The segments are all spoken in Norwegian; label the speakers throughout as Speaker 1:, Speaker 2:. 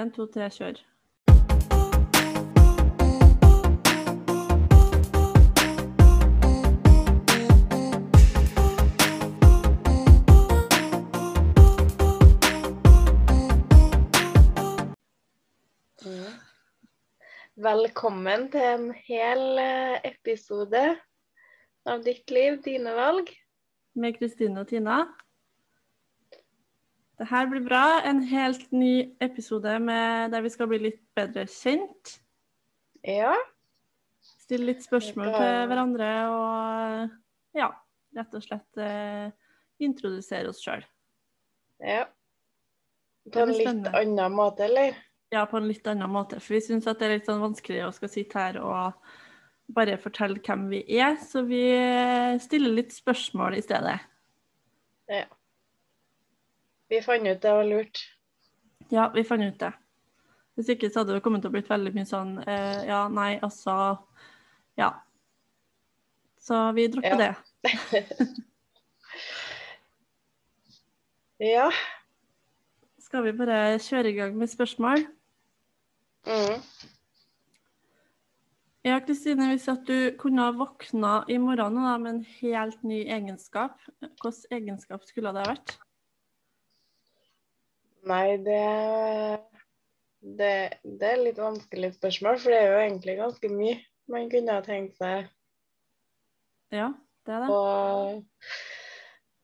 Speaker 1: En, to, tre, kjør.
Speaker 2: Velkommen til en hel eh, episode av ditt liv, dine valg.
Speaker 1: Med Kristine og Tina. Det her blir bra. En helt ny episode med der vi skal bli litt bedre kjent.
Speaker 2: Ja,
Speaker 1: Stille litt spørsmål til hverandre og ja, rett og slett eh, introdusere oss sjøl.
Speaker 2: ja.
Speaker 1: Det
Speaker 2: På en
Speaker 1: blir
Speaker 2: litt
Speaker 1: spennende.
Speaker 2: annen måte, eller?
Speaker 1: Ja, på en litt annen måte. For vi syns at det er litt sånn vanskelig å skal sitte her og bare fortelle hvem vi er. Så vi eh, stiller litt spørsmål i stedet.
Speaker 2: Vi fant ut det var lurt.
Speaker 1: Ja, vi fant ut det. Hvis ikke så hadde det kommet til å blitt veldig mye sånn eh, ja, nei, altså Ja. Så vi dropper
Speaker 2: Ja.
Speaker 1: det.
Speaker 2: Ja.
Speaker 1: Skal vi bare kjøre i gang med spørsmål?
Speaker 2: Mm.
Speaker 1: Ja, Kristine, hvis at du kunne ha våkna i morgen da, med en helt ny egenskap, hvilken egenskap skulle det ha vært?
Speaker 2: Nei, det, det Det er litt vanskelig spørsmål, for det er jo egentlig ganske mye man kunne ha tenkt seg
Speaker 1: Ja, det er det.
Speaker 2: å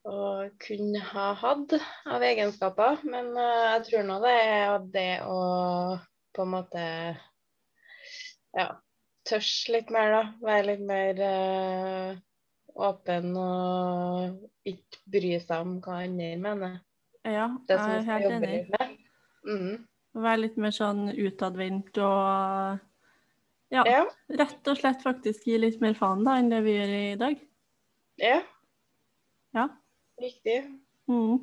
Speaker 2: å kunne ha hatt av egenskaper, men eh, jeg tror nå det er at det å på en måte ja, tørs litt mer, da. Være litt mer eh, åpen og ikke bry seg om hva andre mener.
Speaker 1: Ja, jeg
Speaker 2: Det som
Speaker 1: er
Speaker 2: jeg
Speaker 1: helt
Speaker 2: jobber
Speaker 1: enig.
Speaker 2: litt med. Mm.
Speaker 1: Være litt mer sånn utadvendt og ja,
Speaker 2: Ja.
Speaker 1: rett og slett faktisk gi litt mer faen da enn det vi gjør i dag.
Speaker 2: ja.
Speaker 1: Ja.
Speaker 2: Riktig.
Speaker 1: Mm.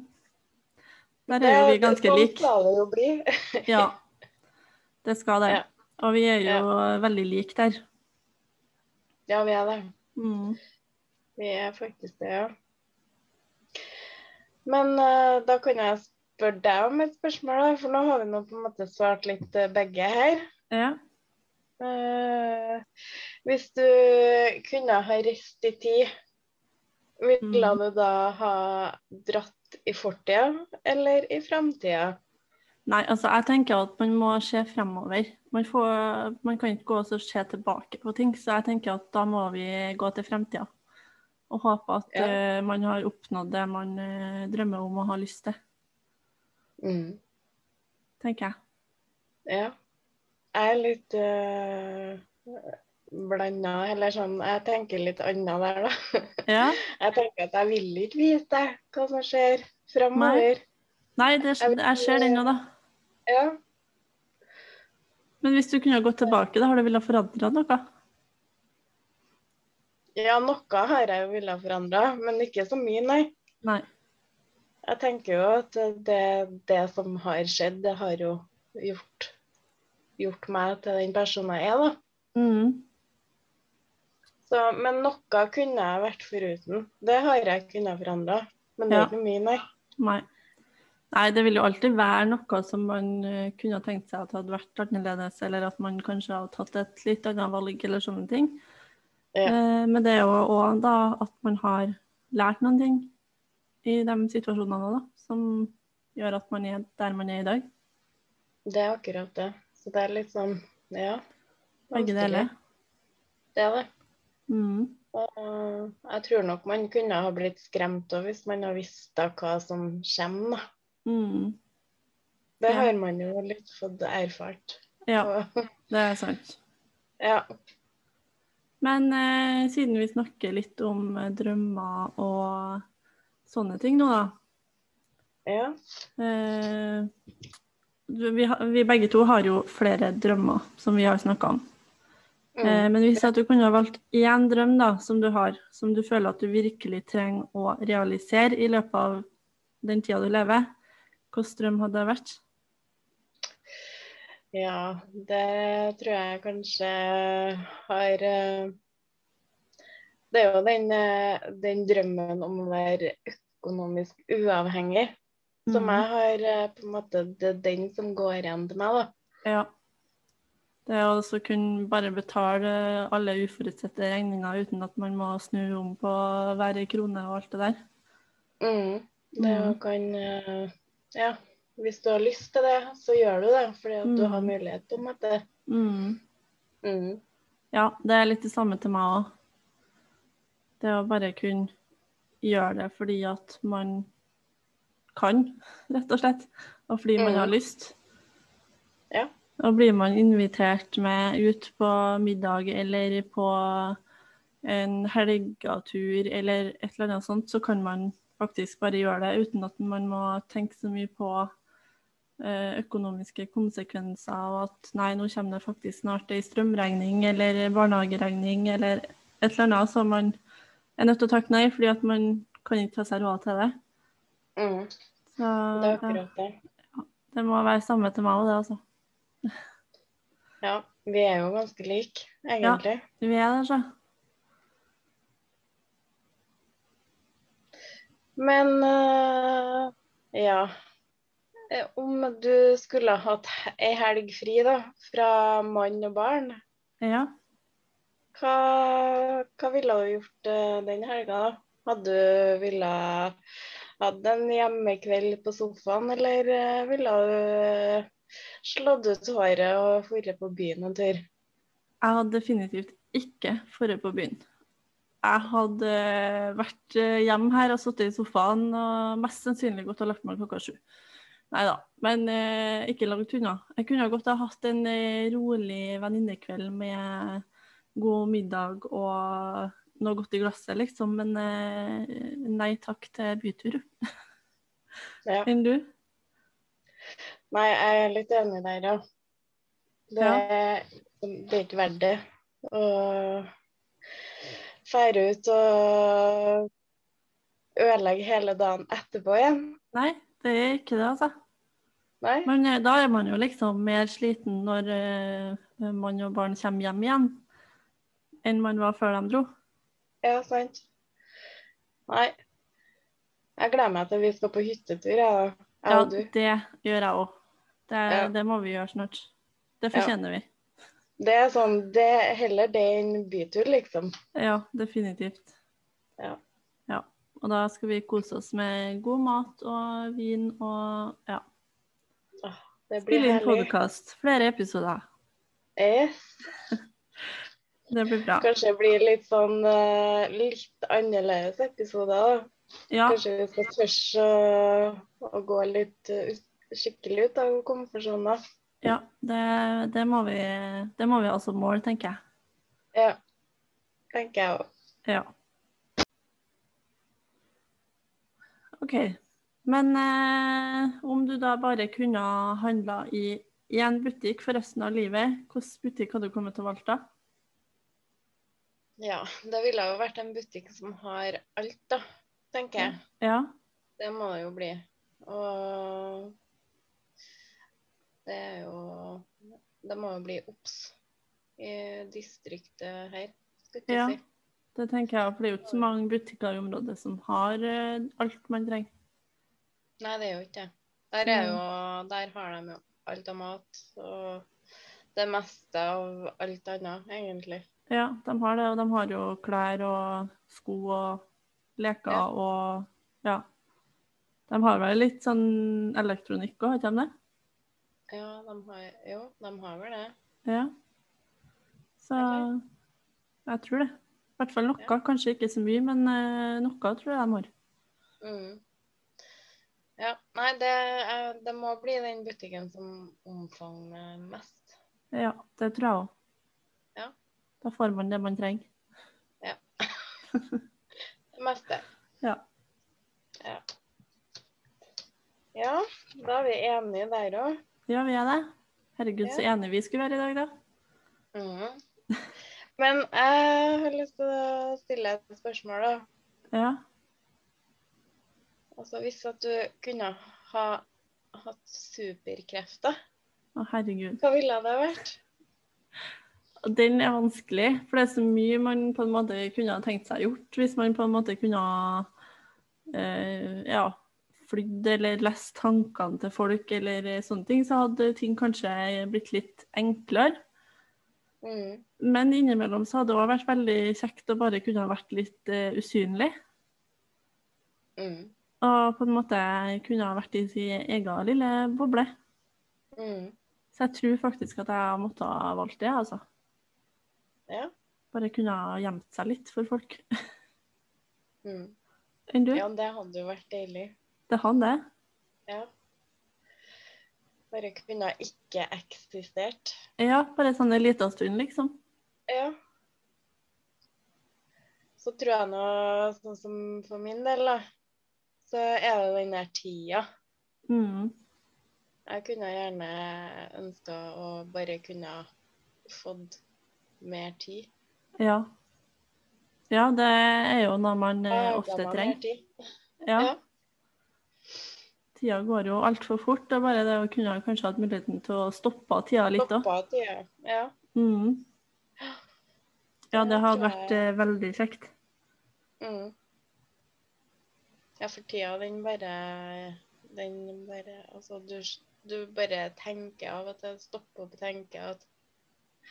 Speaker 1: Der er jo vi ganske
Speaker 2: Sånn
Speaker 1: like.
Speaker 2: skal det jo bli.
Speaker 1: Ja, det skal det.
Speaker 2: Ja.
Speaker 1: Og vi er jo veldig like der.
Speaker 2: Ja, vi er det.
Speaker 1: Mm.
Speaker 2: Vi er faktisk det, ja. Men eh, da kan jeg spørre deg om et spørsmål, da, for nå har vi nå på en måte svart litt eh, begge her.
Speaker 1: Ja.
Speaker 2: Eh, hvis du kunne ha reist i tid, ville
Speaker 1: Mhm.
Speaker 2: du da ha dratt i fortida eller i framtida?
Speaker 1: Nei, altså jeg tenker at man må se fremover. Man, får, man kan ikke gå og så se tilbake på ting, så jeg tenker at da må vi gå til fremtida. Og håpe at
Speaker 2: Ja.
Speaker 1: eh, man har oppnådd det man eh, drømmer om og har lyst til, tenker jeg.
Speaker 2: Ja. Jeg er litt uh, blanda, eller sånn Jeg tenker litt annet der, da.
Speaker 1: Ja.
Speaker 2: Jeg tenker at jeg vil ikke vite hva som skjer framover.
Speaker 1: Nei, det,
Speaker 2: Jeg vil-
Speaker 1: jeg ser den nå, da.
Speaker 2: Ja.
Speaker 1: Men hvis du kunne gått tilbake, da har du villet forandre noe?
Speaker 2: ja, noe har jeg jo villet forandre, men ikke så mye, nei.
Speaker 1: Nei.
Speaker 2: Jeg tenker jo at det, det som har skjedd, det har jo gjort, gjort meg til den personen jeg er, da.
Speaker 1: Mm.
Speaker 2: Så, men noe kunne jeg vært foruten. Det har jeg kunnet forandre. Men det er
Speaker 1: Ja.
Speaker 2: ikke mye, nei.
Speaker 1: Nei. Nei, det vil jo alltid være noe som man eh, kunne ha tenkt seg at hadde vært annerledes, eller at man kanskje hadde tatt et litt annet valg, eller sånne ting.
Speaker 2: Ja.
Speaker 1: Eh, Men det er jo òg da at man har lært noen ting i de situasjonene, da, som gjør at man er der man er i dag.
Speaker 2: Det er akkurat det. Så det er litt sånn, ja.
Speaker 1: Begge
Speaker 2: vanskelig.
Speaker 1: deler.
Speaker 2: Det er det.
Speaker 1: Mm.
Speaker 2: Og jeg tror nok man kunne ha blitt skremt òg hvis man har visst da hva som kommer. da.
Speaker 1: Mm.
Speaker 2: Det
Speaker 1: Ja.
Speaker 2: har man jo litt fått erfart.
Speaker 1: Ja,
Speaker 2: Og,
Speaker 1: det er sant.
Speaker 2: ja.
Speaker 1: Men eh, siden vi snakker litt om eh, drømmer og sånne ting nå, da.
Speaker 2: ja.
Speaker 1: Eh, vi, har- vi begge to har jo flere drømmer som vi har snakka om. Eh,
Speaker 2: Mm.
Speaker 1: men hvis at du kunne ha valgt én drøm da, som du har, som du føler at du virkelig trenger å realisere i løpet av den tida du lever, hvilken drøm hadde det vært?
Speaker 2: ja. Det tror jeg kanskje har eh, Det er jo den, eh, den drømmen om å være økonomisk uavhengig Som
Speaker 1: Mhm.
Speaker 2: jeg har eh, på en måte Det er den som går igjen til meg, da.
Speaker 1: Ja. Det å også kunne bare betale alle uforutsette regninger uten at man må snu om på hver krone og alt det der.
Speaker 2: Mm. Det
Speaker 1: Mm.
Speaker 2: å kan eh, Ja, hvis du har lyst til det, så gjør du det. Fordi at du
Speaker 1: Mm.
Speaker 2: har mulighet på en måte.
Speaker 1: Mm.
Speaker 2: Mm.
Speaker 1: Ja, det er litt det samme til meg òg. Det å bare kunne gjøre det fordi at man kan, rett og slett. Og fordi man
Speaker 2: Mm.
Speaker 1: har lyst.
Speaker 2: Ja.
Speaker 1: Og blir man invitert med ut på middag eller på en helgatur eller et eller annet sånt, så kan man faktisk bare gjøre det uten at man må tenke så mye på eh, økonomiske konsekvenser, og at nei, nå kommer det faktisk snart ei strømregning eller barnehageregning eller et eller annet som man er nødt til å takke nei, fordi at man kan ikke ta seg råd til det.
Speaker 2: Mm.
Speaker 1: Så
Speaker 2: Det er
Speaker 1: ja,
Speaker 2: akkurat det.
Speaker 1: det må være samme til meg òg, det, altså.
Speaker 2: Ja. Vi er jo ganske like, egentlig.
Speaker 1: Vi er der, så.
Speaker 2: Men eh, ja. Eh, Om du skulle ha hatt he- ei helg fri da, fra mann og barn,
Speaker 1: Ja.
Speaker 2: hva, hva ville du gjort eh, den helga? da? Hadde du ville hatt en hjemmekveld på sofaen, eller eh, ville du eh, slått ut håret og dratt på byen en tur?
Speaker 1: Jeg hadde definitivt ikke forrige på byen. Jeg hadde vært eh, hjemme her og sittet i sofaen og mest sannsynlig gått og lagt meg klokka sju. Nei da, men eh, ikke langt unna. Jeg kunne godt ha hatt en eh, rolig venninnekveld med god middag og noe godt i glasset, liksom. Men eh, nei takk til bytur.
Speaker 2: Ja.
Speaker 1: Enn du?
Speaker 2: Nei, jeg er litt enig der, ja. Det, det er ikke verdt det å fære ut og ødelegge hele dagen etterpå igjen.
Speaker 1: Nei, det er ikke det, altså.
Speaker 2: Nei?
Speaker 1: Men eh, da er man jo liksom mer sliten når eh, mann og barn kommer hjem igjen, enn man var før de dro.
Speaker 2: Ja, sant. Nei. Jeg gleder meg til vi skal på hyttetur, jeg ja.
Speaker 1: Ja,
Speaker 2: og du.
Speaker 1: det gjør jeg òg. Det,
Speaker 2: Ja.
Speaker 1: det må vi gjøre snart. Det fortjener vi.
Speaker 2: Det er sånn, det er heller det enn bytur, liksom.
Speaker 1: Ja, definitivt.
Speaker 2: Ja.
Speaker 1: Ja. Og da skal vi kose oss med god mat og vin og ja.
Speaker 2: Det blir
Speaker 1: spille inn
Speaker 2: herlig.
Speaker 1: podkast. Flere episoder.
Speaker 2: Yes.
Speaker 1: Det blir bra.
Speaker 2: Kanskje det blir litt sånn eh, litt annerledes episode, da.
Speaker 1: Ja,
Speaker 2: Kanskje vi skal tørre å, å gå litt eh, ut, skikkelig ut av komfortsona.
Speaker 1: ja det, det, må vi, det må vi ha som mål, tenker jeg.
Speaker 2: Ja, tenker jeg òg.
Speaker 1: Ja. OK. Men eh, om du da bare kunne ha handla i én butikk for resten av livet, hvilken butikk hadde du kommet til å valge da?
Speaker 2: Ja, det ville jo vært en butikk som har alt, da, tenker jeg.
Speaker 1: Ja.
Speaker 2: Det må det jo bli. Og det er jo Det må jo bli obs i distriktet her, skulle jeg
Speaker 1: Ja.
Speaker 2: si.
Speaker 1: Det tenker jeg, for det er jo ikke så mange butikker i området som har eh, alt man trenger.
Speaker 2: Nei, det er jo ikke det. Der, er jo, der har de jo alt av mat og det meste av alt annet, egentlig.
Speaker 1: Ja, de har det, og de har jo klær og sko og leker
Speaker 2: Ja.
Speaker 1: og ja. De har vel litt sånn elektronikk òg, har ikke de det?
Speaker 2: Ja, de har, jo, de har vel det.
Speaker 1: Ja. Så
Speaker 2: Eller?
Speaker 1: jeg tror det. I hvert fall noe.
Speaker 2: Ja.
Speaker 1: Kanskje ikke så mye, men eh, noe tror jeg de har.
Speaker 2: Mm. Ja, nei, det, er- det må bli den butikken som omfavner mest.
Speaker 1: Ja, det tror jeg òg.
Speaker 2: Ja.
Speaker 1: Da får man det man trenger.
Speaker 2: Det meste.
Speaker 1: Ja.
Speaker 2: Ja, ja da er vi enige der òg.
Speaker 1: Ja, vi er det. Herregud,
Speaker 2: Ja.
Speaker 1: så enige vi skulle være i dag, da.
Speaker 2: Mm. Men jeg har lyst til å stille et spørsmål, da.
Speaker 1: Ja.
Speaker 2: Altså, hvis at du kunne ha hatt superkrefter,
Speaker 1: Å, herregud.
Speaker 2: hva ville det vært?
Speaker 1: Og Den er vanskelig, for det er så mye man på en måte kunne ha tenkt seg gjort hvis man på en måte kunne ha eh, ja, flydd eller lest tankene til folk eller eh, sånne ting, så hadde ting kanskje blitt litt enklere.
Speaker 2: Mm.
Speaker 1: Men innimellom så hadde det òg vært veldig kjekt å bare kunne ha vært litt eh, usynlig.
Speaker 2: Mm.
Speaker 1: Og på en måte kunne ha vært i sin egen lille boble.
Speaker 2: Mm.
Speaker 1: Så jeg tror faktisk at jeg måtte ha valgt det, altså.
Speaker 2: Ja.
Speaker 1: Bare kunne ha gjemt seg litt for folk.
Speaker 2: Mm.
Speaker 1: Enn du?
Speaker 2: ja, det hadde jo vært deilig.
Speaker 1: Det er han, det.
Speaker 2: Ja. Bare kunne ha ikke eksistert.
Speaker 1: Ja, bare sånn en liten stund, liksom.
Speaker 2: Ja. Så tror jeg nå, sånn som for min del, da, så er det den der tida.
Speaker 1: Mm.
Speaker 2: Jeg kunne gjerne ønska å bare kunne ha fått mer tid.
Speaker 1: Ja. ja, det er jo noe man eh,
Speaker 2: Jeg
Speaker 1: ofte
Speaker 2: ønsker meg mer
Speaker 1: trenger.
Speaker 2: tid.
Speaker 1: Ja.
Speaker 2: Ja.
Speaker 1: Tida går jo altfor fort. Det er bare det å kunne ha kanskje hatt muligheten til å stoppe tida litt òg.
Speaker 2: Stoppa tida. Ja.
Speaker 1: Mm. Ja, det
Speaker 2: Det
Speaker 1: hadde
Speaker 2: tror
Speaker 1: vært
Speaker 2: jeg-
Speaker 1: eh, veldig kjekt.
Speaker 2: Mm. Ja, for tida, den bare Den bare Altså, du, du bare tenker av og til, stopper opp og tenker at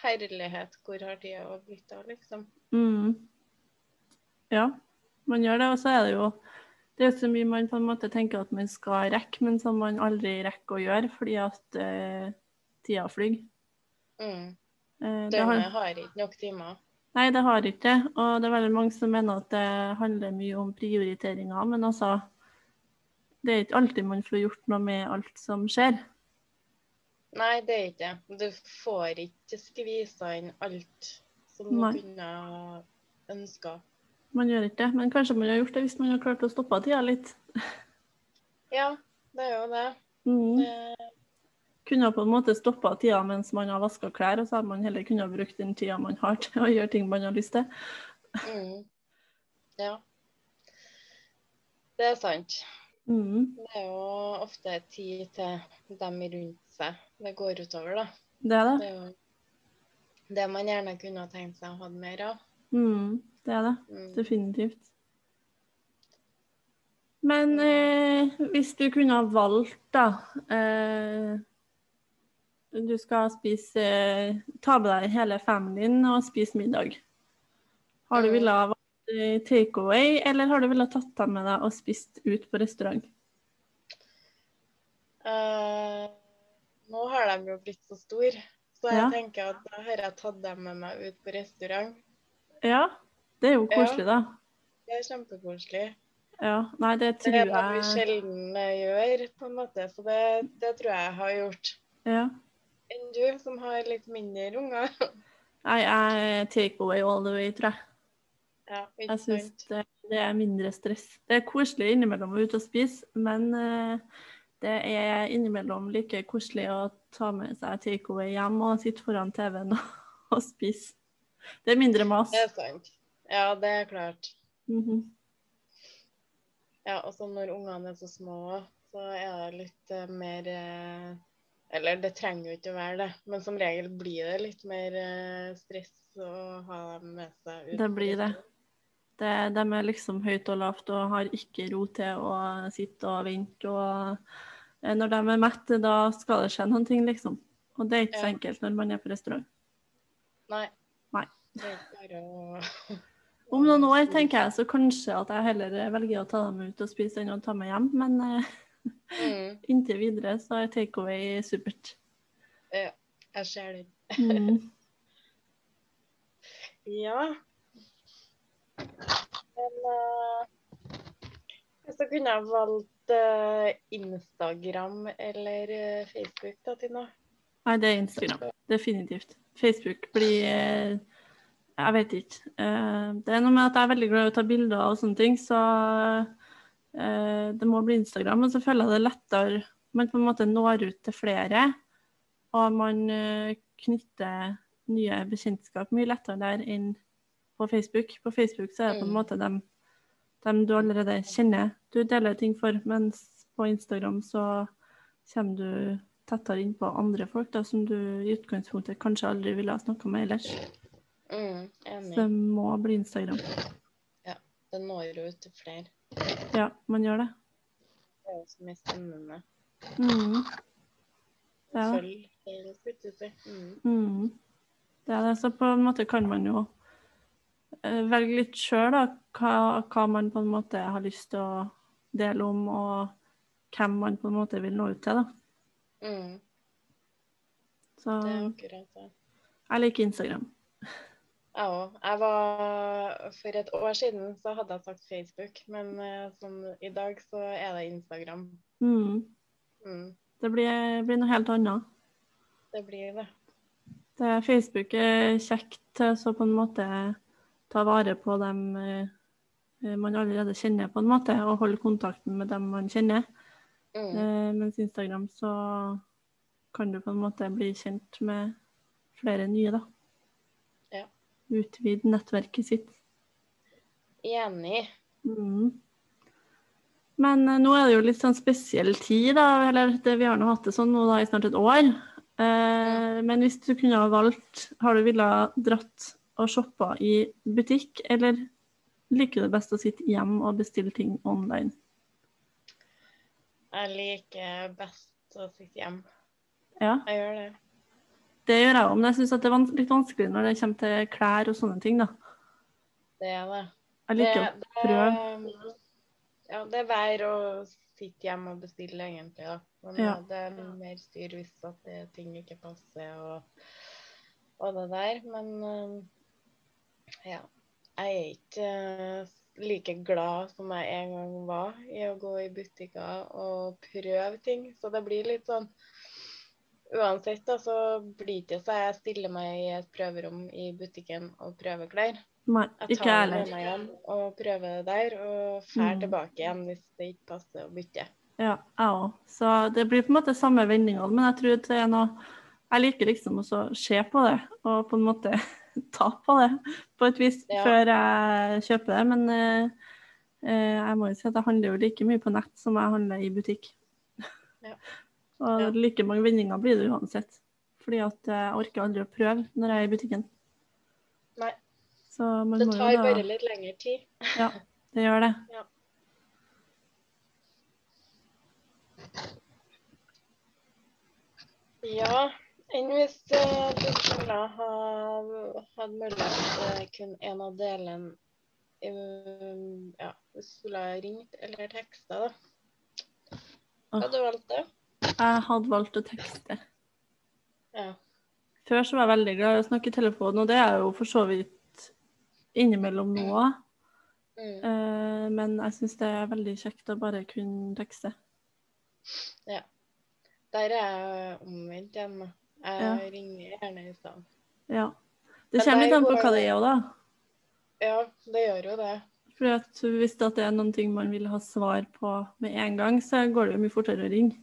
Speaker 2: Herlighet, hvor har tida blitt av, liksom?
Speaker 1: Mm. Ja, man gjør det. Og så er det jo det er jo så mye man på en måte tenker at man skal rekke, men som man aldri rekker å gjøre fordi at eh, tida flyr.
Speaker 2: Mm.
Speaker 1: Eh, det har-
Speaker 2: Døgnet har ikke nok timer.
Speaker 1: Nei, det har ikke det. Og det er veldig mange som mener at det handler mye om prioriteringer. Men altså, det er ikke alltid man får gjort noe med alt som skjer.
Speaker 2: Nei, det er ikke det. Du får ikke skvisa inn alt som du
Speaker 1: Nei.
Speaker 2: kunne ønska.
Speaker 1: Man gjør ikke det. Men kanskje man har gjort det hvis man har klart å stoppe tida litt.
Speaker 2: Ja, det er jo det.
Speaker 1: Mm.
Speaker 2: Eh,
Speaker 1: Kunne på en måte stoppa tida mens man har vaska klær, og så hadde man heller kunnet ha brukt den tida man har til å gjøre ting man har lyst til.
Speaker 2: Mm. Ja. Det er sant.
Speaker 1: Mm.
Speaker 2: Det er jo ofte tid til dem rundt seg det går utover, da.
Speaker 1: Det er
Speaker 2: Det
Speaker 1: det.
Speaker 2: er jo det man gjerne kunne ha tenkt seg å ha mer av.
Speaker 1: Mm. Det er det.
Speaker 2: Mm.
Speaker 1: Definitivt. Men eh, hvis du kunne ha valgt, da eh, Du skal spise eh, Ta med deg hele familien og spise middag. Har du
Speaker 2: Mm.
Speaker 1: villet ha valgt eh, takeaway, eller har du villet tatt deg med deg og spist ut på restaurant?
Speaker 2: Eh, nå har de jo blitt så store, så jeg
Speaker 1: Ja.
Speaker 2: tenker at da har jeg tatt dem med meg ut på restaurant.
Speaker 1: Ja, det er jo koselig, da.
Speaker 2: Det er kjempekoselig.
Speaker 1: Ja, Nei, det
Speaker 2: Det er
Speaker 1: tror
Speaker 2: noe vi
Speaker 1: jeg
Speaker 2: sjelden eh, gjør, på en måte, så det, det tror jeg jeg har gjort.
Speaker 1: ja.
Speaker 2: Enn du, som har litt mindre unger.
Speaker 1: Nei, jeg takeaway all the way, tror jeg.
Speaker 2: Ja, ikke
Speaker 1: Jeg syns
Speaker 2: sant?
Speaker 1: det, det er mindre stress. Det er koselig innimellom å være ute og spise, men eh, det er innimellom like koselig å ta med seg takeaway hjem og sitte foran TV-en og, og spise. Det er mindre mas.
Speaker 2: Det er sant. Ja, det er klart.
Speaker 1: Mhm.
Speaker 2: Ja, og så når ungene er så små, så er det litt eh, mer eh, Eller det trenger jo ikke å være det, men som regel blir det litt mer eh, stress å ha dem med seg ut.
Speaker 1: Det blir det.
Speaker 2: på
Speaker 1: det.
Speaker 2: restaurant.
Speaker 1: De er liksom høyt og lavt og har ikke ro til å sitte og vente. Og eh, når de er mette, da skal det skje noen ting, liksom. Og det er ikke så
Speaker 2: Ja.
Speaker 1: enkelt når man er på restaurant.
Speaker 2: Nei.
Speaker 1: Nei.
Speaker 2: Det er ikke bare å
Speaker 1: Om noen år tenker jeg så kanskje at jeg heller velger å ta dem ut og spise enn å ta meg hjem, men eh,
Speaker 2: Mm,
Speaker 1: inntil videre så er takeaway supert.
Speaker 2: jeg ser det.
Speaker 1: Mm.
Speaker 2: Ja. Men eh, så kunne jeg valgt eh, Instagram eller eh, Facebook da, Tina.
Speaker 1: Nei, det er Instagram. Definitivt. Facebook blir eh, Jeg vet ikke. Eh, Det er noe med at jeg er veldig glad i å ta bilder og sånne ting, så eh, det må bli Instagram. Men så føler jeg det er lettere Man på en måte når ut til flere, og man eh, knytter nye bekjentskap mye lettere der enn på Facebook. På Facebook så er det på en
Speaker 2: Mm.
Speaker 1: måte dem, dem du allerede kjenner du deler ting for, mens på Instagram så kommer du tettere inn på andre folk da, som du i utgangspunktet kanskje aldri ville ha snakka med ellers.
Speaker 2: Mm,
Speaker 1: Så
Speaker 2: enig.
Speaker 1: det må bli Instagram.
Speaker 2: Det når jo ut til flere.
Speaker 1: Ja, man gjør det.
Speaker 2: det er jo så mye spennende.
Speaker 1: Mm. Ja.
Speaker 2: Følg helt utover. Mm.
Speaker 1: Mm. Det er det. Så på en måte kan man jo eh, velge litt sjøl hva, hva man på en måte har lyst til å dele om, og hvem man på en måte vil nå ut til. Da.
Speaker 2: Mm.
Speaker 1: Så
Speaker 2: Det er akkurat det.
Speaker 1: jeg liker Instagram.
Speaker 2: Jeg òg. Jeg var For et år siden så hadde jeg sagt Facebook, men eh, sånn, i dag så er det Instagram.
Speaker 1: Mm.
Speaker 2: Mm.
Speaker 1: Det blir, blir noe helt annet.
Speaker 2: Det blir det.
Speaker 1: Det er Facebook er kjekt til så på en måte ta vare på dem eh, man allerede kjenner, på en måte, og holde kontakten med dem man kjenner.
Speaker 2: Mm.
Speaker 1: Eh, mens Instagram så kan du på en måte bli kjent med flere nye, da.
Speaker 2: Ja.
Speaker 1: Utvide nettverket sitt.
Speaker 2: Enig.
Speaker 1: Mm. Men eh, nå er det jo litt sånn spesiell tid, da. Eller det, vi har nå hatt det sånn nå da, i snart et år. Eh, men hvis du kunne ha valgt, har du villet dratt og shoppa i butikk, eller liker du det best å sitte hjem og bestille ting online?
Speaker 2: Jeg liker best å sitte hjemme.
Speaker 1: Ja,
Speaker 2: Jeg gjør det.
Speaker 1: det gjør jeg òg, men jeg syns det er vans litt vanskelig når det kommer til klær og sånne ting, da.
Speaker 2: Det er det.
Speaker 1: Jeg liker å prøve.
Speaker 2: det- Ja, det er vær å sitte hjemme og bestille, egentlig. Da. Men
Speaker 1: Ja.
Speaker 2: ja, det er mer styr hvis at det, ting ikke passer og, og det der. Men øhm, ja. Jeg er ikke øh, like glad som jeg en gang var i å gå i butikker og prøve ting. Så det blir litt sånn Uansett da, så blir det ikke så jeg stiller meg i et prøverom i butikken og prøver klær.
Speaker 1: Nei,
Speaker 2: Jeg
Speaker 1: ikke
Speaker 2: tar
Speaker 1: jeg
Speaker 2: det med
Speaker 1: heller.
Speaker 2: meg hjem og prøver det der, og drar
Speaker 1: Mm.
Speaker 2: tilbake igjen hvis det ikke passer å bytte.
Speaker 1: Ja, jeg òg. Så det blir på en måte samme vendingene, men jeg tror det er noe Jeg liker liksom også å se på det, og på en måte ta på det på et vis
Speaker 2: Ja.
Speaker 1: før jeg kjøper det. Men eh, eh, jeg må jo si at jeg handler jo like mye på nett som jeg handler i butikk.
Speaker 2: Ja.
Speaker 1: Og
Speaker 2: Ja.
Speaker 1: like mange vendinger blir det uansett. Fordi at eh, jeg orker aldri å prøve når jeg er i butikken.
Speaker 2: Nei,
Speaker 1: Så man
Speaker 2: det
Speaker 1: må
Speaker 2: tar
Speaker 1: jo
Speaker 2: bare
Speaker 1: da
Speaker 2: litt lengre tid.
Speaker 1: Ja, det gjør det.
Speaker 2: Ja. Ja, enn hvis eh, du skulle ha hatt mulighet til kun en av delene eh, Ja, hvis du skulle ha ringt eller teksta, da.
Speaker 1: Åh.
Speaker 2: Hadde du valgt det?
Speaker 1: Jeg hadde valgt å tekste.
Speaker 2: Ja.
Speaker 1: Før så var jeg veldig glad i å snakke i telefonen, og det er jeg jo for så vidt innimellom nå òg.
Speaker 2: Mm.
Speaker 1: Eh, men jeg syns det er veldig kjekt å bare kunne tekste.
Speaker 2: Der er jeg omvendt igjen. da. Jeg
Speaker 1: Ja.
Speaker 2: ringer gjerne i stedet.
Speaker 1: Ja. Det
Speaker 2: Men
Speaker 1: kommer
Speaker 2: det
Speaker 1: litt
Speaker 2: er
Speaker 1: an på
Speaker 2: jo-
Speaker 1: hva det er òg, da.
Speaker 2: Ja, det gjør jo det.
Speaker 1: For at hvis det er noen ting man vil ha svar på med en gang, så går det jo mye fortere å ringe.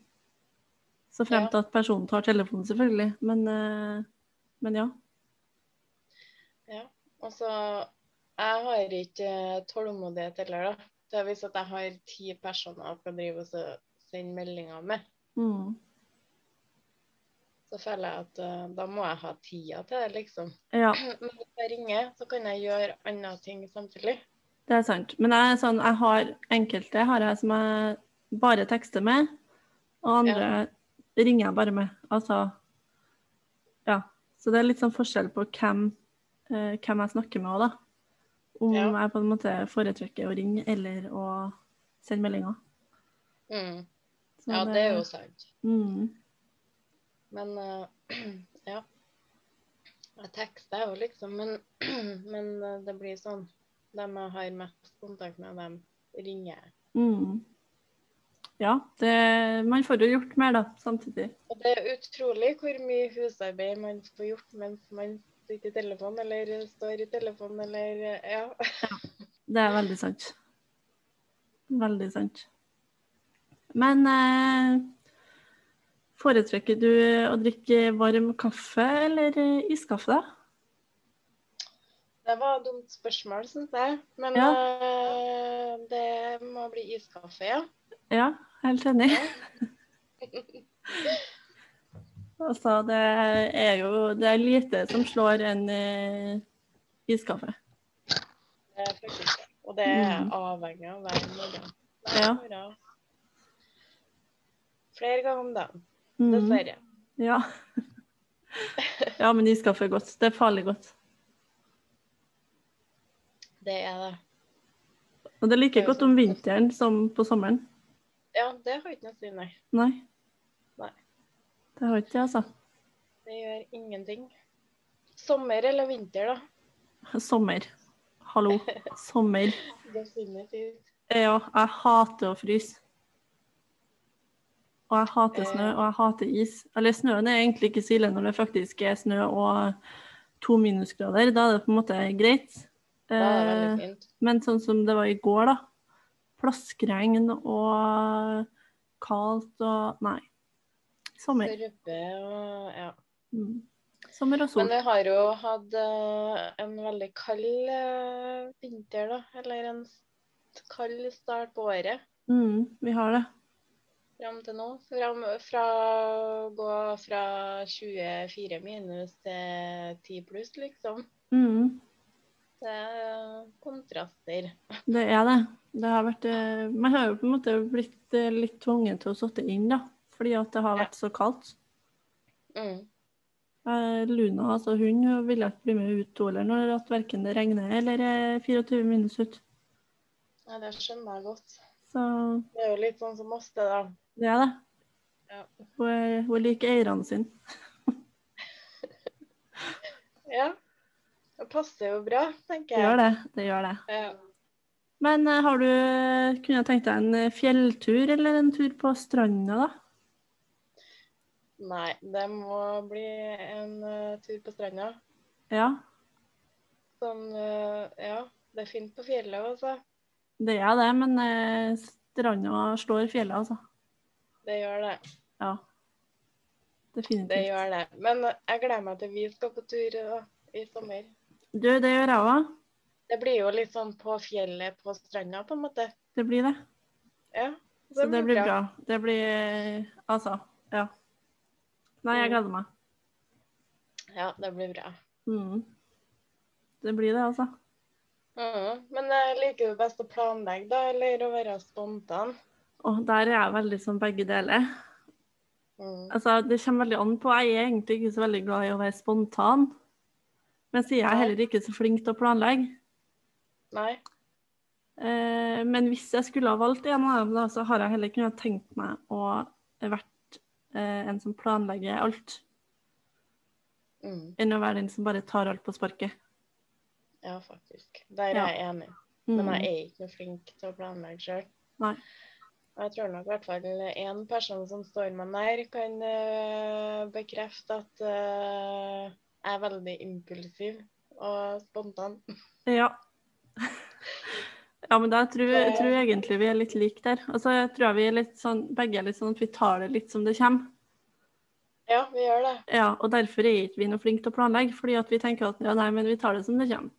Speaker 1: Så frem
Speaker 2: Ja.
Speaker 1: til at personen tar telefonen, selvfølgelig. Men, eh, men ja.
Speaker 2: Og så Altså, Jeg har ikke tålmodighet heller, da. Det er hvis at jeg har ti personer jeg skal drive og så sende meldinger med,
Speaker 1: Mm.
Speaker 2: så føler jeg at eh, da må jeg ha tida til det, liksom.
Speaker 1: ja.
Speaker 2: Men hvis jeg ringer, så kan jeg gjøre andre ting samtidig.
Speaker 1: Det er sant. Men jeg, er sånn, jeg har enkelte har jeg som jeg bare tekster med, og andre ringer jeg bare med. Altså Ja. Så det er litt sånn forskjell på hvem, eh, hvem jeg snakker med òg, da. Om
Speaker 2: Ja.
Speaker 1: jeg på en måte foretrekker å ringe eller å sende meldinger.
Speaker 2: Mm.
Speaker 1: Så
Speaker 2: Ja, det er jo sant.
Speaker 1: mm,
Speaker 2: Men eh, ja. Jeg tekster jo, liksom. Men, men eh, det blir sånn. Dem jeg har mest kontakt med, dem ringer jeg.
Speaker 1: mm. Ja, det, man får jo gjort mer, da, samtidig.
Speaker 2: Og det er utrolig hvor mye husarbeid man får gjort mens man sitter i telefonen, eller står i telefonen, eller ja.
Speaker 1: Det er veldig sant. Veldig sant. Men eh, foretrekker du å drikke varm kaffe eller eh, iskaffe, da?
Speaker 2: Det var et dumt spørsmål, syns jeg. Men
Speaker 1: Ja.
Speaker 2: eh, det må bli iskaffe, ja.
Speaker 1: Ja, helt enig. altså, det er jo det er lite som slår en eh, iskaffe.
Speaker 2: Det er faktisk det. Og det er jeg
Speaker 1: Mm.
Speaker 2: avhengig av hver morgen. Hver
Speaker 1: Ja.
Speaker 2: morgen. flere ganger om dagen.
Speaker 1: Mhm.
Speaker 2: Dessverre.
Speaker 1: Ja. ja, men de skaffer godt. Det er farlig godt.
Speaker 2: Det er det.
Speaker 1: Og det er
Speaker 2: Det
Speaker 1: like
Speaker 2: er jo
Speaker 1: godt
Speaker 2: sånn.
Speaker 1: om vinteren som på sommeren.
Speaker 2: Ja, det har ikke noe å si, nei.
Speaker 1: Nei.
Speaker 2: Nei.
Speaker 1: Det har ikke jeg, altså.
Speaker 2: Det gjør ingenting. Sommer eller vinter, da.
Speaker 1: Sommer. Hallo. Sommer.
Speaker 2: Definitivt.
Speaker 1: Ja, jeg hater å fryse. Og jeg hater snø, og jeg hater is. Eller snøen er egentlig ikke så ille når det faktisk er snø og to minusgrader. Da er det på en måte greit.
Speaker 2: Det er veldig
Speaker 1: Eh,
Speaker 2: fint.
Speaker 1: Men sånn som det var i går, da. Plaskregn og kaldt og Nei. Sommer.
Speaker 2: Rødbe og ja.
Speaker 1: Mm. Sommer og
Speaker 2: Men
Speaker 1: sol.
Speaker 2: vi har jo hatt eh, en veldig kald eh, vinter, da. Eller en s- kald start på året
Speaker 1: Mm, vi har det.
Speaker 2: fram til nå. Fram, fra å gå fra 24 minus til 10 pluss, liksom.
Speaker 1: Mm.
Speaker 2: Det er kontraster.
Speaker 1: Det er det. Det har vært eh, Man har jo på en måte blitt eh, litt tvungen til å sitte inn, da. Fordi at det har
Speaker 2: Ja.
Speaker 1: vært så kaldt.
Speaker 2: Mm.
Speaker 1: Eh, Luna, altså hun, hun ville ikke bli med ut to eller når at verken det regner eller er 24 minus ut.
Speaker 2: Ja, det skjønner jeg godt.
Speaker 1: Så
Speaker 2: Det er jo litt sånn som oss, det, da.
Speaker 1: det er det.
Speaker 2: Ja.
Speaker 1: Hun, er, hun liker eierne sine.
Speaker 2: Ja. Det passer jo bra, tenker
Speaker 1: Det
Speaker 2: jeg.
Speaker 1: gjør det. Det gjør det.
Speaker 2: Ja.
Speaker 1: Men eh, har du eh, kunnet tenkt deg en eh, fjelltur eller en tur på stranda, da?
Speaker 2: Nei, det må bli en eh, tur på stranda.
Speaker 1: Ja,
Speaker 2: Sånn, eh, ja. Det er fint på fjellet, altså.
Speaker 1: det er det, men eh, stranda slår fjellet, altså.
Speaker 2: Det gjør det.
Speaker 1: Ja. Definitivt.
Speaker 2: Det gjør det. Men jeg gleder meg til vi skal på tur eh, da, i sommer.
Speaker 1: Du, det gjør jeg òg.
Speaker 2: Det blir jo litt sånn på fjellet på stranda, på en måte.
Speaker 1: Det blir det.
Speaker 2: Ja.
Speaker 1: Så det blir bra. Det blir eh, Altså, ja. Nei, jeg gleder meg.
Speaker 2: Ja, det blir bra.
Speaker 1: Mm. Det blir det, altså.
Speaker 2: Mhm. Men eh, liker du best å planlegge, da, eller å være spontan?
Speaker 1: Og der er jeg veldig som begge deler.
Speaker 2: Mhm.
Speaker 1: Altså, Det kommer veldig an på. Jeg er egentlig ikke så veldig glad i å være spontan. Men så er jeg heller ikke så flink til å planlegge.
Speaker 2: Nei?
Speaker 1: Eh, men hvis jeg skulle ha valgt en av dem, da, så har jeg heller kunnet tenkt meg å vært eh, en som planlegger alt,
Speaker 2: Mhm.
Speaker 1: enn å være den som bare tar alt på sparket.
Speaker 2: Ja, faktisk. Der
Speaker 1: Ja.
Speaker 2: er jeg enig.
Speaker 1: Mm.
Speaker 2: Men jeg er ikke noe flink til å planlegge sjøl.
Speaker 1: Nei.
Speaker 2: Jeg tror nok i hvert fall én person som står meg nær, kan øh, bekrefte at øh, jeg er veldig impulsiv og spontan.
Speaker 1: Ja. Ja, men da tror jeg
Speaker 2: Så-
Speaker 1: tror jeg egentlig vi er litt like der. Altså, jeg tror vi er litt sånn, begge er litt sånn at vi tar det litt som det kommer.
Speaker 2: Ja, vi gjør det.
Speaker 1: Ja, og derfor er ikke vi noe flinke til å planlegge, fordi at vi tenker at ja, nei, men vi tar det som det kommer. Mm.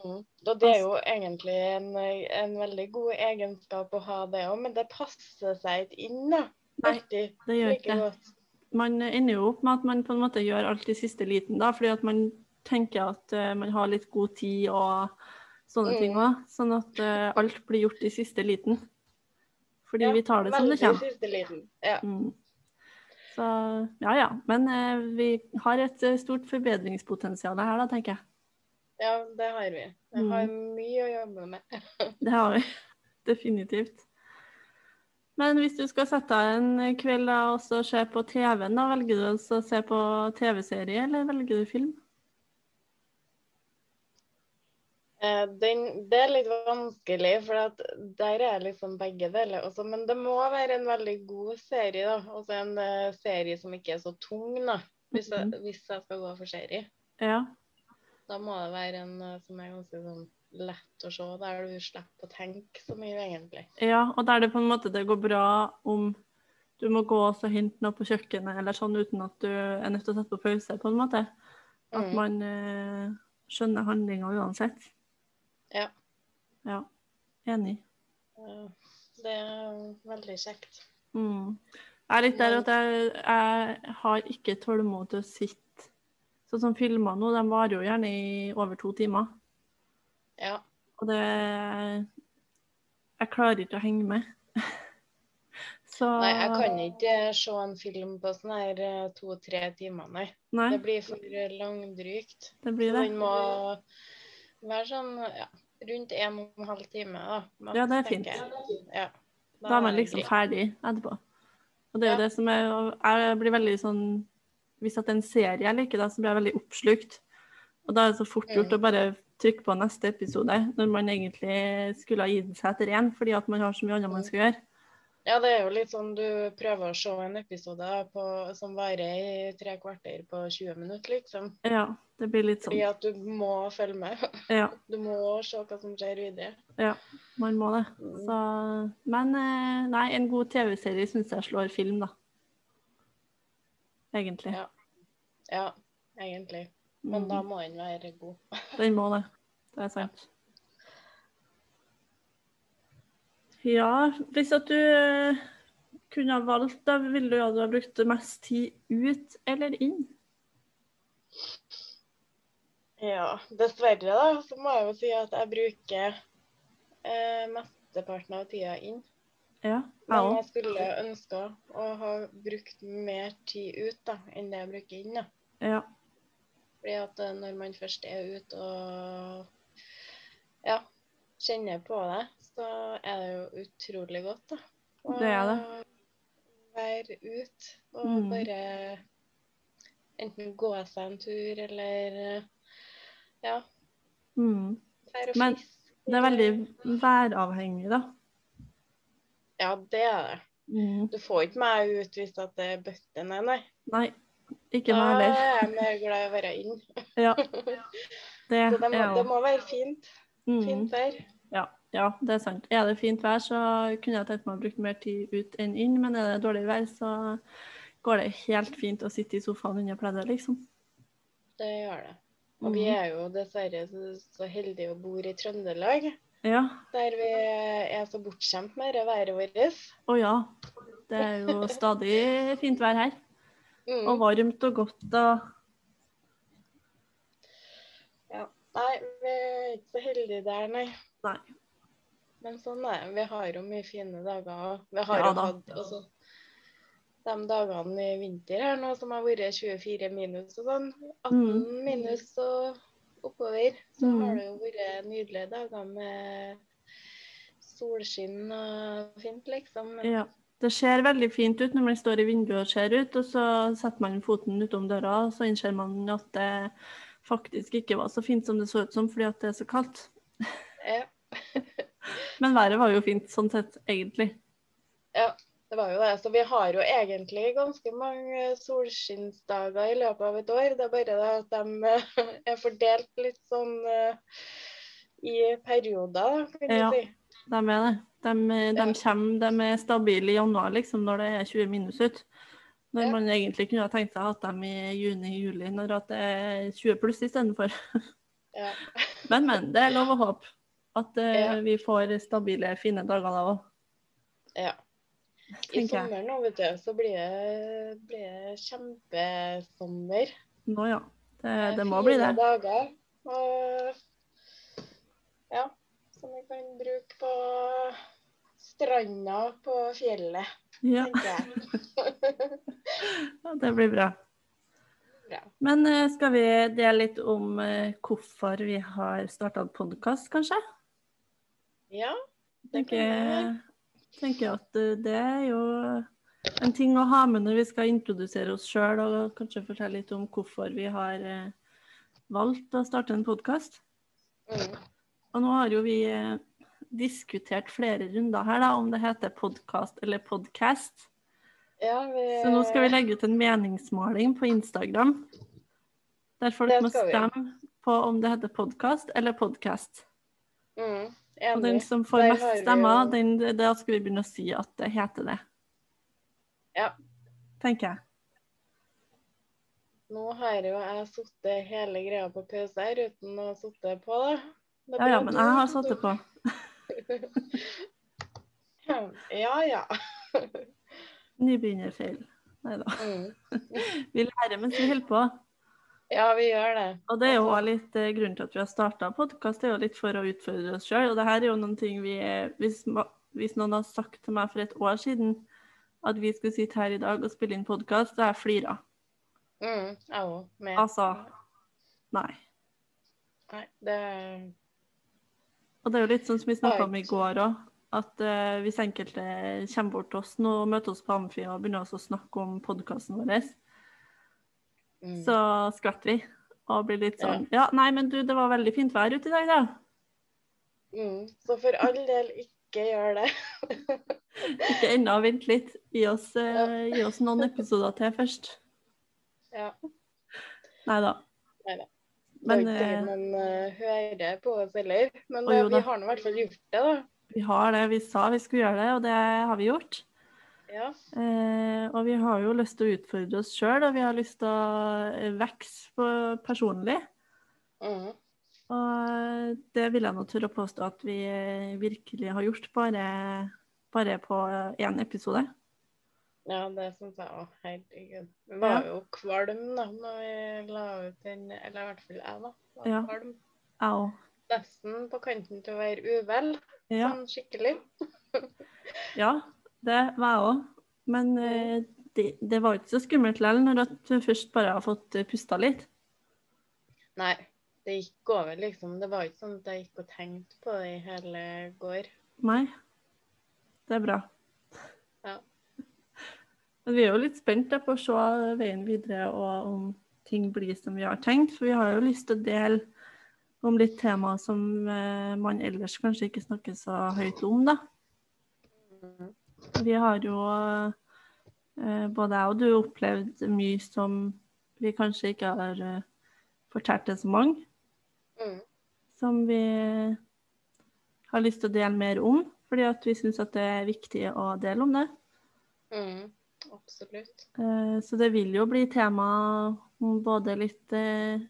Speaker 2: Mhm. Og det er jo egentlig en, en veldig god egenskap å ha det òg, men det passer seg ikke inn, da.
Speaker 1: Nei,
Speaker 2: Alltid.
Speaker 1: Det gjør
Speaker 2: Like
Speaker 1: ikke det.
Speaker 2: godt.
Speaker 1: Man ender jo opp med at man på en måte gjør alt i siste liten, da, fordi at man tenker at eh, man har litt god tid og sånne
Speaker 2: Mm.
Speaker 1: ting òg. Sånn at eh, alt blir gjort i siste liten. Fordi
Speaker 2: Ja,
Speaker 1: vi tar det som det
Speaker 2: veldig
Speaker 1: kommer.
Speaker 2: Siste liten. Ja.
Speaker 1: Mm. Så ja, ja. Men eh, vi har et eh, stort forbedringspotensial her, da, tenker jeg.
Speaker 2: ja, det har vi. Jeg har
Speaker 1: Mm.
Speaker 2: mye å jobbe med.
Speaker 1: Det har vi definitivt. Men hvis du skal sette deg en kveld da, og så se på TV-en, da velger du altså å se på TV-serie, eller velger du film?
Speaker 2: Eh, Den, det er litt vanskelig, for at der er liksom begge deler. Også, men det må være en veldig god serie. da. Også en eh, serie som ikke er så tung, da. Hvis jeg, hvis jeg skal gå for serie.
Speaker 1: Ja.
Speaker 2: Da må det være en eh, som er ganske sånn lett å se, der du slipper å tenke så mye, egentlig.
Speaker 1: ja. Og der det på en måte det går bra om du må gå og så hente noe på kjøkkenet eller sånn uten at du er nødt til å sette på pause, på en måte. At
Speaker 2: Mm.
Speaker 1: man eh, skjønner handlinga uansett.
Speaker 2: Ja.
Speaker 1: Ja, enig.
Speaker 2: Eh, Det er veldig kjekt.
Speaker 1: Mm. Jeg er litt der at jeg, jeg har ikke tålmodighet til å sitte Sånn som filmer nå, de varer jo gjerne i over to timer.
Speaker 2: Ja.
Speaker 1: Og det Jeg klarer ikke å henge med. Så
Speaker 2: Nei, jeg kan ikke se en film på sånn her eh, to-tre timer, nei.
Speaker 1: Nei,
Speaker 2: Det blir for langdrygt.
Speaker 1: det blir
Speaker 2: Så
Speaker 1: det.
Speaker 2: den må være sånn ja, rundt en og en halv time, da. maks,
Speaker 1: Ja, det er
Speaker 2: tenker
Speaker 1: fint.
Speaker 2: jeg. Ja.
Speaker 1: Da er man
Speaker 2: det
Speaker 1: liksom
Speaker 2: greit.
Speaker 1: ferdig etterpå. Og det er jo
Speaker 2: Ja.
Speaker 1: det som er og Jeg blir veldig sånn Hvis at det er en serie jeg liker, da, så blir jeg veldig oppslukt. Og da er det så fort gjort
Speaker 2: Mm.
Speaker 1: å bare trykke på neste episode, når man egentlig skulle ha gitt seg etter én, fordi at man har så mye annet man skal gjøre.
Speaker 2: Ja, det er jo litt sånn du prøver å se en episode på, som varer i tre kvarter på 20 minutter, liksom.
Speaker 1: Ja, det blir litt sånn.
Speaker 2: Fordi at du må følge med.
Speaker 1: Ja,
Speaker 2: Du må se hva som skjer videre.
Speaker 1: man må det.
Speaker 2: Mm.
Speaker 1: Så, men eh, nei, en god TV-serie syns jeg slår film, da. Egentlig.
Speaker 2: Ja. Ja, egentlig. Men da
Speaker 1: Mm,
Speaker 2: må den være god.
Speaker 1: den må det. Det er sant. Ja, hvis at du eh, kunne ha valgt, da ville du, ja, du ha brukt mest tid ut eller inn?
Speaker 2: Ja, dessverre da, så må jeg jo si at jeg bruker eh, mesteparten av tida inn.
Speaker 1: Ja, jeg
Speaker 2: Men
Speaker 1: òg.
Speaker 2: jeg skulle ønske å ha brukt mer tid ut da, enn det jeg bruker inn. da.
Speaker 1: Ja.
Speaker 2: Fordi at eh, når man først er ute og ja, kjenner på det, så er det jo utrolig godt, da. Å
Speaker 1: Det er
Speaker 2: Være ute og
Speaker 1: Mm.
Speaker 2: bare enten gå seg en tur eller eh, ja,
Speaker 1: Mm.
Speaker 2: være og
Speaker 1: Men
Speaker 2: fiske.
Speaker 1: Det er veldig væravhengig, da.
Speaker 2: Ja, det er det.
Speaker 1: Mm.
Speaker 2: Du får ikke meg ut hvis at det er bøtte, nei, nei.
Speaker 1: Nei, ikke
Speaker 2: Da
Speaker 1: meg
Speaker 2: er
Speaker 1: heller.
Speaker 2: jeg mer glad i å være inn.
Speaker 1: Ja, det
Speaker 2: Så
Speaker 1: er
Speaker 2: det må,
Speaker 1: jeg
Speaker 2: det
Speaker 1: òg.
Speaker 2: må være fint.
Speaker 1: Mm.
Speaker 2: Fint vær.
Speaker 1: Ja, ja, det er sant. Er det fint vær, så kunne jeg tenkt meg å bruke mer tid ut enn inn, men er det dårlig vær, så går det helt fint å sitte i sofaen under pleddet, liksom.
Speaker 2: Det gjør det. Og vi
Speaker 1: Mhm.
Speaker 2: er jo dessverre så, så heldige og bor i Trøndelag,
Speaker 1: Ja.
Speaker 2: der vi er så bortskjemt med det været vårt.
Speaker 1: Å ja. Det er jo stadig fint vær her. Og
Speaker 2: Mm.
Speaker 1: varmt og godt og
Speaker 2: Ja. Nei, vi er ikke så heldige der, nei.
Speaker 1: Nei.
Speaker 2: Men sånn er det. Vi har jo mye fine dager. og Vi har
Speaker 1: Ja
Speaker 2: jo
Speaker 1: da.
Speaker 2: hatt også de dagene i vinter her nå som har vært 24 minus og sånn. 18
Speaker 1: Mm.
Speaker 2: minus og oppover. Så
Speaker 1: Mm.
Speaker 2: har det jo vært nydelige dager med solskinn og fint, liksom. Men
Speaker 1: Ja. Det ser veldig fint ut når man står i vinduet og ser ut, og så setter man foten utom døra, og så innser man at det faktisk ikke var så fint som det så ut som fordi at det er så kaldt.
Speaker 2: ja,
Speaker 1: Men været var jo fint sånn sett, egentlig.
Speaker 2: det var jo det. Så vi har jo egentlig ganske mange solskinnsdager i løpet av et år. Det er bare det at de eh, er fordelt litt sånn eh, i perioder, kan du
Speaker 1: Ja.
Speaker 2: si.
Speaker 1: De er det. De, de
Speaker 2: Ja.
Speaker 1: kommer, de er stabile i januar, liksom, når det er 20 minus ut. Når
Speaker 2: Ja.
Speaker 1: man egentlig kunne ha tenkt seg å ha dem i juni-juli, når at det er 20 pluss istedenfor.
Speaker 2: Ja.
Speaker 1: Men, men. Det er lov å håpe at eh,
Speaker 2: Ja.
Speaker 1: vi får stabile, fine dager da òg,
Speaker 2: Ja. I
Speaker 1: tenker jeg.
Speaker 2: sommer nå, vet du, så blir det, blir det kjempesommer.
Speaker 1: Nå, ja. Det, det må
Speaker 2: Fine
Speaker 1: bli det.
Speaker 2: dager. Og ja, som vi kan bruke på stranda på fjellet,
Speaker 1: Ja,
Speaker 2: tenker jeg.
Speaker 1: det blir bra.
Speaker 2: Bra.
Speaker 1: Men eh, skal vi dele litt om eh, hvorfor vi har starta podkast, kanskje?
Speaker 2: Ja, det kan jeg.
Speaker 1: tenker, tenker at eh, det er jo en ting å ha med når vi skal introdusere oss sjøl, og kanskje fortelle litt om hvorfor vi har eh, valgt å starte en podkast.
Speaker 2: Mm.
Speaker 1: Og nå har jo vi eh, diskutert flere runder her da, om det heter podkast eller podcast.
Speaker 2: Ja, vi,
Speaker 1: Så nå skal vi legge ut en meningsmåling på Instagram. Der folk
Speaker 2: Det
Speaker 1: må
Speaker 2: skal vi.
Speaker 1: stemme på om det heter podkast eller podkast.
Speaker 2: mm,
Speaker 1: Og
Speaker 2: Enig.
Speaker 1: den som får
Speaker 2: Der har vi
Speaker 1: mest stemmer,
Speaker 2: jo-
Speaker 1: den, da skal vi begynne å si at det heter det.
Speaker 2: Ja.
Speaker 1: Tenker jeg.
Speaker 2: Nå har jo jeg satt hele greia på pause her uten å sitte på, da.
Speaker 1: Ja,
Speaker 2: Det blir
Speaker 1: ja,
Speaker 2: jo
Speaker 1: men
Speaker 2: to
Speaker 1: jeg har
Speaker 2: som
Speaker 1: satt det på.
Speaker 2: Ja, ja.
Speaker 1: Nybegynnerfeil. Nei da.
Speaker 2: Mm.
Speaker 1: Vi lærer mens vi holder på.
Speaker 2: Ja, vi gjør det.
Speaker 1: Og det er jo også litt eh, grunnen til at vi har starta podkast, er jo litt for å utfordre oss sjøl. Og det her er jo noen ting vi Hvis, ma- hvis noen har sagt til meg for et år siden at vi skulle sitte her i dag og spille inn podkast, og jeg flira.
Speaker 2: Mm, jeg òg. med.
Speaker 1: Altså, nei.
Speaker 2: Nei, det
Speaker 1: Og det er jo litt sånn som vi snakka om i går òg, at eh, hvis enkelte kommer bort til oss nå og møter oss på Amfi og begynner også å snakke om podkasten vår,
Speaker 2: mm.
Speaker 1: så skvetter vi. Og blir litt sånn Ja, nei, men du, det var veldig fint vær ute i dag, da.
Speaker 2: Mm. Så for all del, ikke gjør det.
Speaker 1: Ikke ennå, vent litt. Gi oss, eh, gi oss noen episoder til først.
Speaker 2: ja.
Speaker 1: Nei da.
Speaker 2: Neida.
Speaker 1: Men
Speaker 2: det er
Speaker 1: eh,
Speaker 2: ikke det man eh, hører på oss heller. Men
Speaker 1: Å,
Speaker 2: eh,
Speaker 1: jo da.
Speaker 2: vi har nå i hvert fall gjort det, da.
Speaker 1: vi har det vi sa vi skulle gjøre det, og det har vi gjort.
Speaker 2: Ja.
Speaker 1: Eh, og vi har jo lyst til å utfordre oss sjøl, og vi har lyst til å eh, vokse på- personlig.
Speaker 2: Mm.
Speaker 1: Og det vil jeg nå tørre å påstå at vi eh, virkelig har gjort, bare, bare på én episode.
Speaker 2: ja, det syns jeg òg. Herregud. Vi var
Speaker 1: Ja.
Speaker 2: jo kvalm da når vi la ut den, eller i hvert fall jeg, da. Var
Speaker 1: Ja.
Speaker 2: kvalm.
Speaker 1: Jeg òg.
Speaker 2: Nesten på kanten til å være uvel,
Speaker 1: Ja,
Speaker 2: sånn skikkelig.
Speaker 1: ja, det var jeg òg. Men eh, det, det var ikke så skummelt likevel, når at du først bare har fått pusta litt.
Speaker 2: Nei, det gikk over, liksom. Det var ikke sånn at jeg gikk og tenkte på det i hele går.
Speaker 1: Nei, det er bra.
Speaker 2: Ja.
Speaker 1: Men vi er jo litt spent da på å se veien videre og om ting blir som vi har tenkt. For vi har jo lyst til å dele om litt temaer som eh, man ellers kanskje ikke snakker så høyt om, da.
Speaker 2: Mm.
Speaker 1: Vi har jo, eh, både jeg og du, opplevd mye som vi kanskje ikke har eh, fortalt til så mange.
Speaker 2: Mm.
Speaker 1: Som vi har lyst til å dele mer om, fordi at vi syns at det er viktig å dele om det.
Speaker 2: Mm. Absolutt.
Speaker 1: Eh, Så det vil jo bli tema om både litt eh,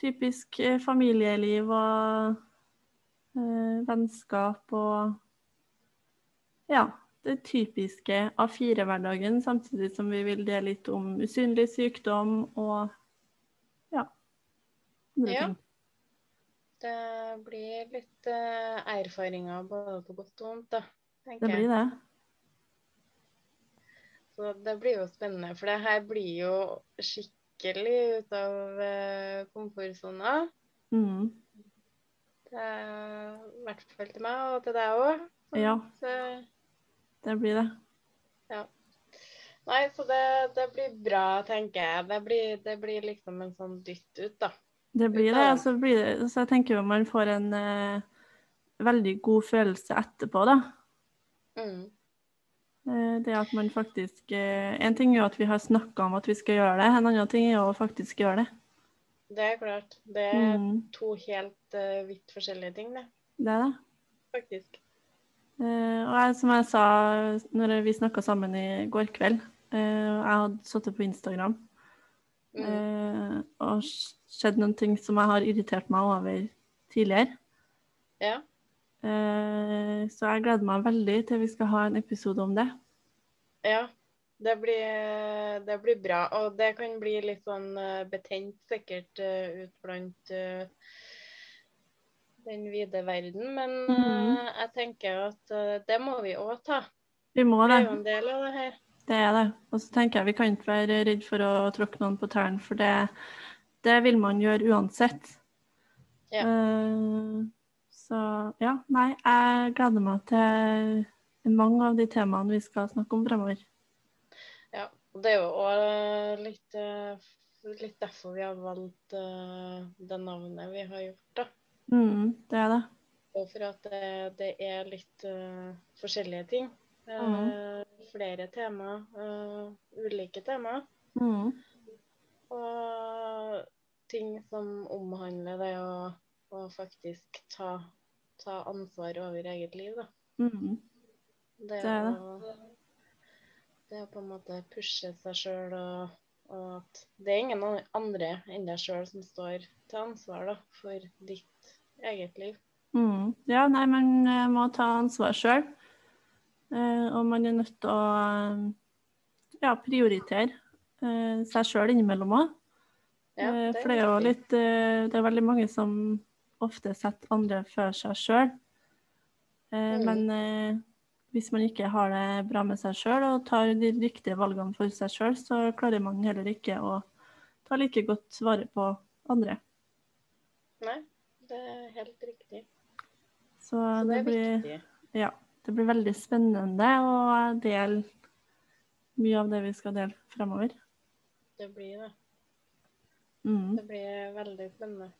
Speaker 1: typisk eh, familieliv og eh, vennskap og Ja, det typiske A4-hverdagen, samtidig som vi vil dele litt om usynlig sykdom og ja, andre
Speaker 2: Ja.
Speaker 1: ting.
Speaker 2: Det blir litt eh, erfaringer både på godt og vondt, da. tenker
Speaker 1: Det
Speaker 2: jeg.
Speaker 1: blir det.
Speaker 2: Så det blir jo spennende, for det her blir jo skikkelig ut av eh, komfortsona.
Speaker 1: Mm.
Speaker 2: Det er I hvert fall til meg, og til deg òg.
Speaker 1: Ja. Det blir det.
Speaker 2: Nei, så det, det blir bra, tenker jeg. Det blir, det blir liksom en sånn dytt ut, da.
Speaker 1: Det blir det.
Speaker 2: Uten-
Speaker 1: og Så, blir det, så jeg tenker jo man får en eh, veldig god følelse etterpå, da.
Speaker 2: Mm.
Speaker 1: Eh, Det at man faktisk eh, En ting er jo at vi har snakka om at vi skal gjøre det, en annen ting er jo å faktisk gjøre det.
Speaker 2: Det er klart. Det er
Speaker 1: Mm,
Speaker 2: to helt eh, vidt forskjellige ting, det.
Speaker 1: det er det.
Speaker 2: Faktisk.
Speaker 1: Eh, Og jeg, som jeg sa når vi snakka sammen i går kveld eh, Jeg hadde sittet på Instagram
Speaker 2: Mm.
Speaker 1: eh, og s- sett noen ting som jeg har irritert meg over tidligere.
Speaker 2: Ja.
Speaker 1: Eh, Så jeg gleder meg veldig til vi skal ha en episode om det.
Speaker 2: Ja, det blir, det blir bra. Og det kan bli litt sånn eh, betent sikkert eh, ut blant eh, den vide verden. Men
Speaker 1: Mhm.
Speaker 2: eh, jeg tenker at eh, det må vi òg ta.
Speaker 1: Vi må
Speaker 2: Det
Speaker 1: det.
Speaker 2: er jo en del av det her.
Speaker 1: Det er det. Og så tenker jeg vi kan ikke være redd for å tråkke noen på tærne, for det, det vil man gjøre uansett.
Speaker 2: Ja.
Speaker 1: Eh, så ja, nei, jeg gleder meg til mange av de temaene vi skal snakke om fremover.
Speaker 2: Ja. Og det er jo òg litt, eh, litt derfor vi har valgt eh, det navnet vi har gjort, da.
Speaker 1: Mm, det er det.
Speaker 2: Og for at det, det er litt eh, forskjellige ting. Eh,
Speaker 1: Mhm.
Speaker 2: Flere temaer. eh, ulike temaer.
Speaker 1: Mm.
Speaker 2: Og ting som omhandler det å, å faktisk ta, ta ansvar over eget liv, da.
Speaker 1: Mm.
Speaker 2: Det,
Speaker 1: Det er det.
Speaker 2: Å, det å på en måte pushe seg sjøl og, og at det er ingen an- andre enn deg sjøl som står til ansvar da, for ditt eget liv.
Speaker 1: Mm. Ja, nei, man eh, må ta ansvar sjøl. Eh, og man er nødt til å eh, ja, prioritere eh, seg sjøl innimellom òg.
Speaker 2: Ja,
Speaker 1: Eh,
Speaker 2: det er
Speaker 1: For det er jo
Speaker 2: viktig.
Speaker 1: litt eh, Det er veldig mange som ofte setter andre før seg sjøl.
Speaker 2: Mm.
Speaker 1: Men eh, hvis man ikke har det bra med seg sjøl og tar de riktige valgene for seg sjøl, så klarer man heller ikke å ta like godt vare på andre.
Speaker 2: Nei, det er helt riktig.
Speaker 1: Så,
Speaker 2: Så det
Speaker 1: det,
Speaker 2: er
Speaker 1: blir,
Speaker 2: viktig.
Speaker 1: ja, det blir veldig spennende å dele mye av det vi skal dele fremover.
Speaker 2: Det blir det.
Speaker 1: Mm,
Speaker 2: Det blir veldig spennende.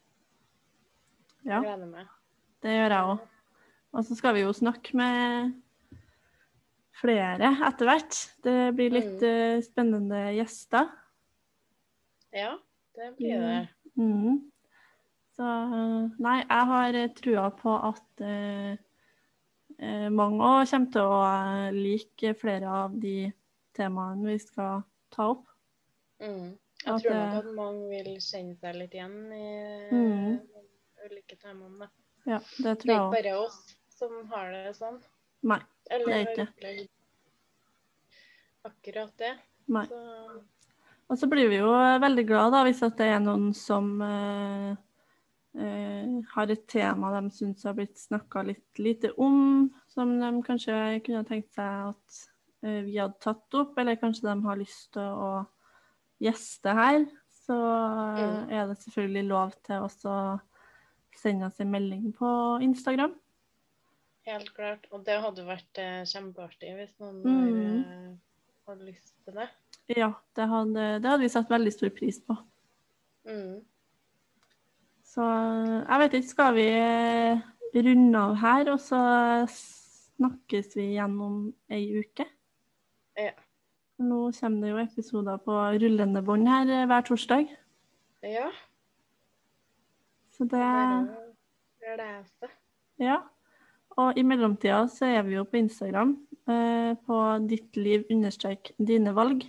Speaker 1: ja,
Speaker 2: Jeg gleder meg.
Speaker 1: det gjør jeg òg. Og så skal vi jo snakke med flere etter hvert. Det blir litt
Speaker 2: Mm.
Speaker 1: eh, spennende gjester.
Speaker 2: Ja, det blir det.
Speaker 1: Mm. Så eh, nei, jeg har eh, trua på at eh, eh, mange òg kommer til å eh, like flere av de temaene vi skal ta opp.
Speaker 2: Mm.
Speaker 1: At eh,
Speaker 2: Jeg tror
Speaker 1: det-
Speaker 2: nok at mange vil kjenne seg litt igjen i
Speaker 1: Mm.
Speaker 2: de ulike temaene.
Speaker 1: Ja, det
Speaker 2: Det er
Speaker 1: tror
Speaker 2: ikke
Speaker 1: jeg òg.
Speaker 2: bare oss som har det sånn.
Speaker 1: Nei.
Speaker 2: Eller
Speaker 1: det er
Speaker 2: har
Speaker 1: ikke det.
Speaker 2: opplevd akkurat det.
Speaker 1: Nei.
Speaker 2: Så
Speaker 1: Og så blir vi jo eh, veldig glad da, hvis at det er noen som eh, eh, har et tema de syns har blitt snakka litt lite om, som de kanskje kunne tenkt seg at eh, vi hadde tatt opp, eller kanskje de har lyst til å gjeste her. Så eh, er det selvfølgelig lov til også å sende oss en melding på Instagram.
Speaker 2: helt klart. Og det hadde vært eh, kjempeartig hvis noen
Speaker 1: Mm.
Speaker 2: har, eh, hadde lyst til det.
Speaker 1: Ja, det hadde, det hadde vi satt veldig stor pris på.
Speaker 2: Mm.
Speaker 1: Så jeg vet ikke, skal vi eh, runde av her, og så snakkes vi igjen om ei uke?
Speaker 2: Ja.
Speaker 1: Nå kommer det jo episoder på rullende bånd her eh, hver torsdag,
Speaker 2: Ja.
Speaker 1: så det
Speaker 2: Bare lese.
Speaker 1: Ja. Og i mellomtida så er vi jo på Instagram eh, på ditt liv understrek dine valg.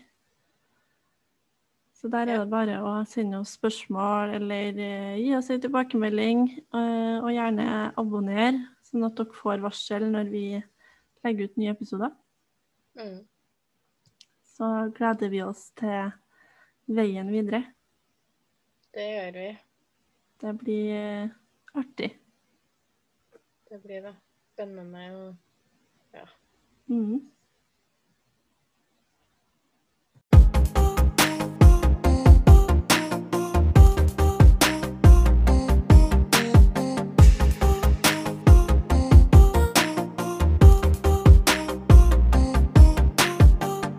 Speaker 1: Så der er
Speaker 2: Ja.
Speaker 1: det bare å sende oss spørsmål eller eh, gi oss en tilbakemelding. Eh, og gjerne abonner, sånn at dere får varsel når vi legger ut nye episoder.
Speaker 2: Mm.
Speaker 1: Så gleder vi oss til veien videre.
Speaker 2: Det gjør vi.
Speaker 1: Det blir eh, artig.
Speaker 2: Det blir det. Spennende. og-
Speaker 1: Mhm.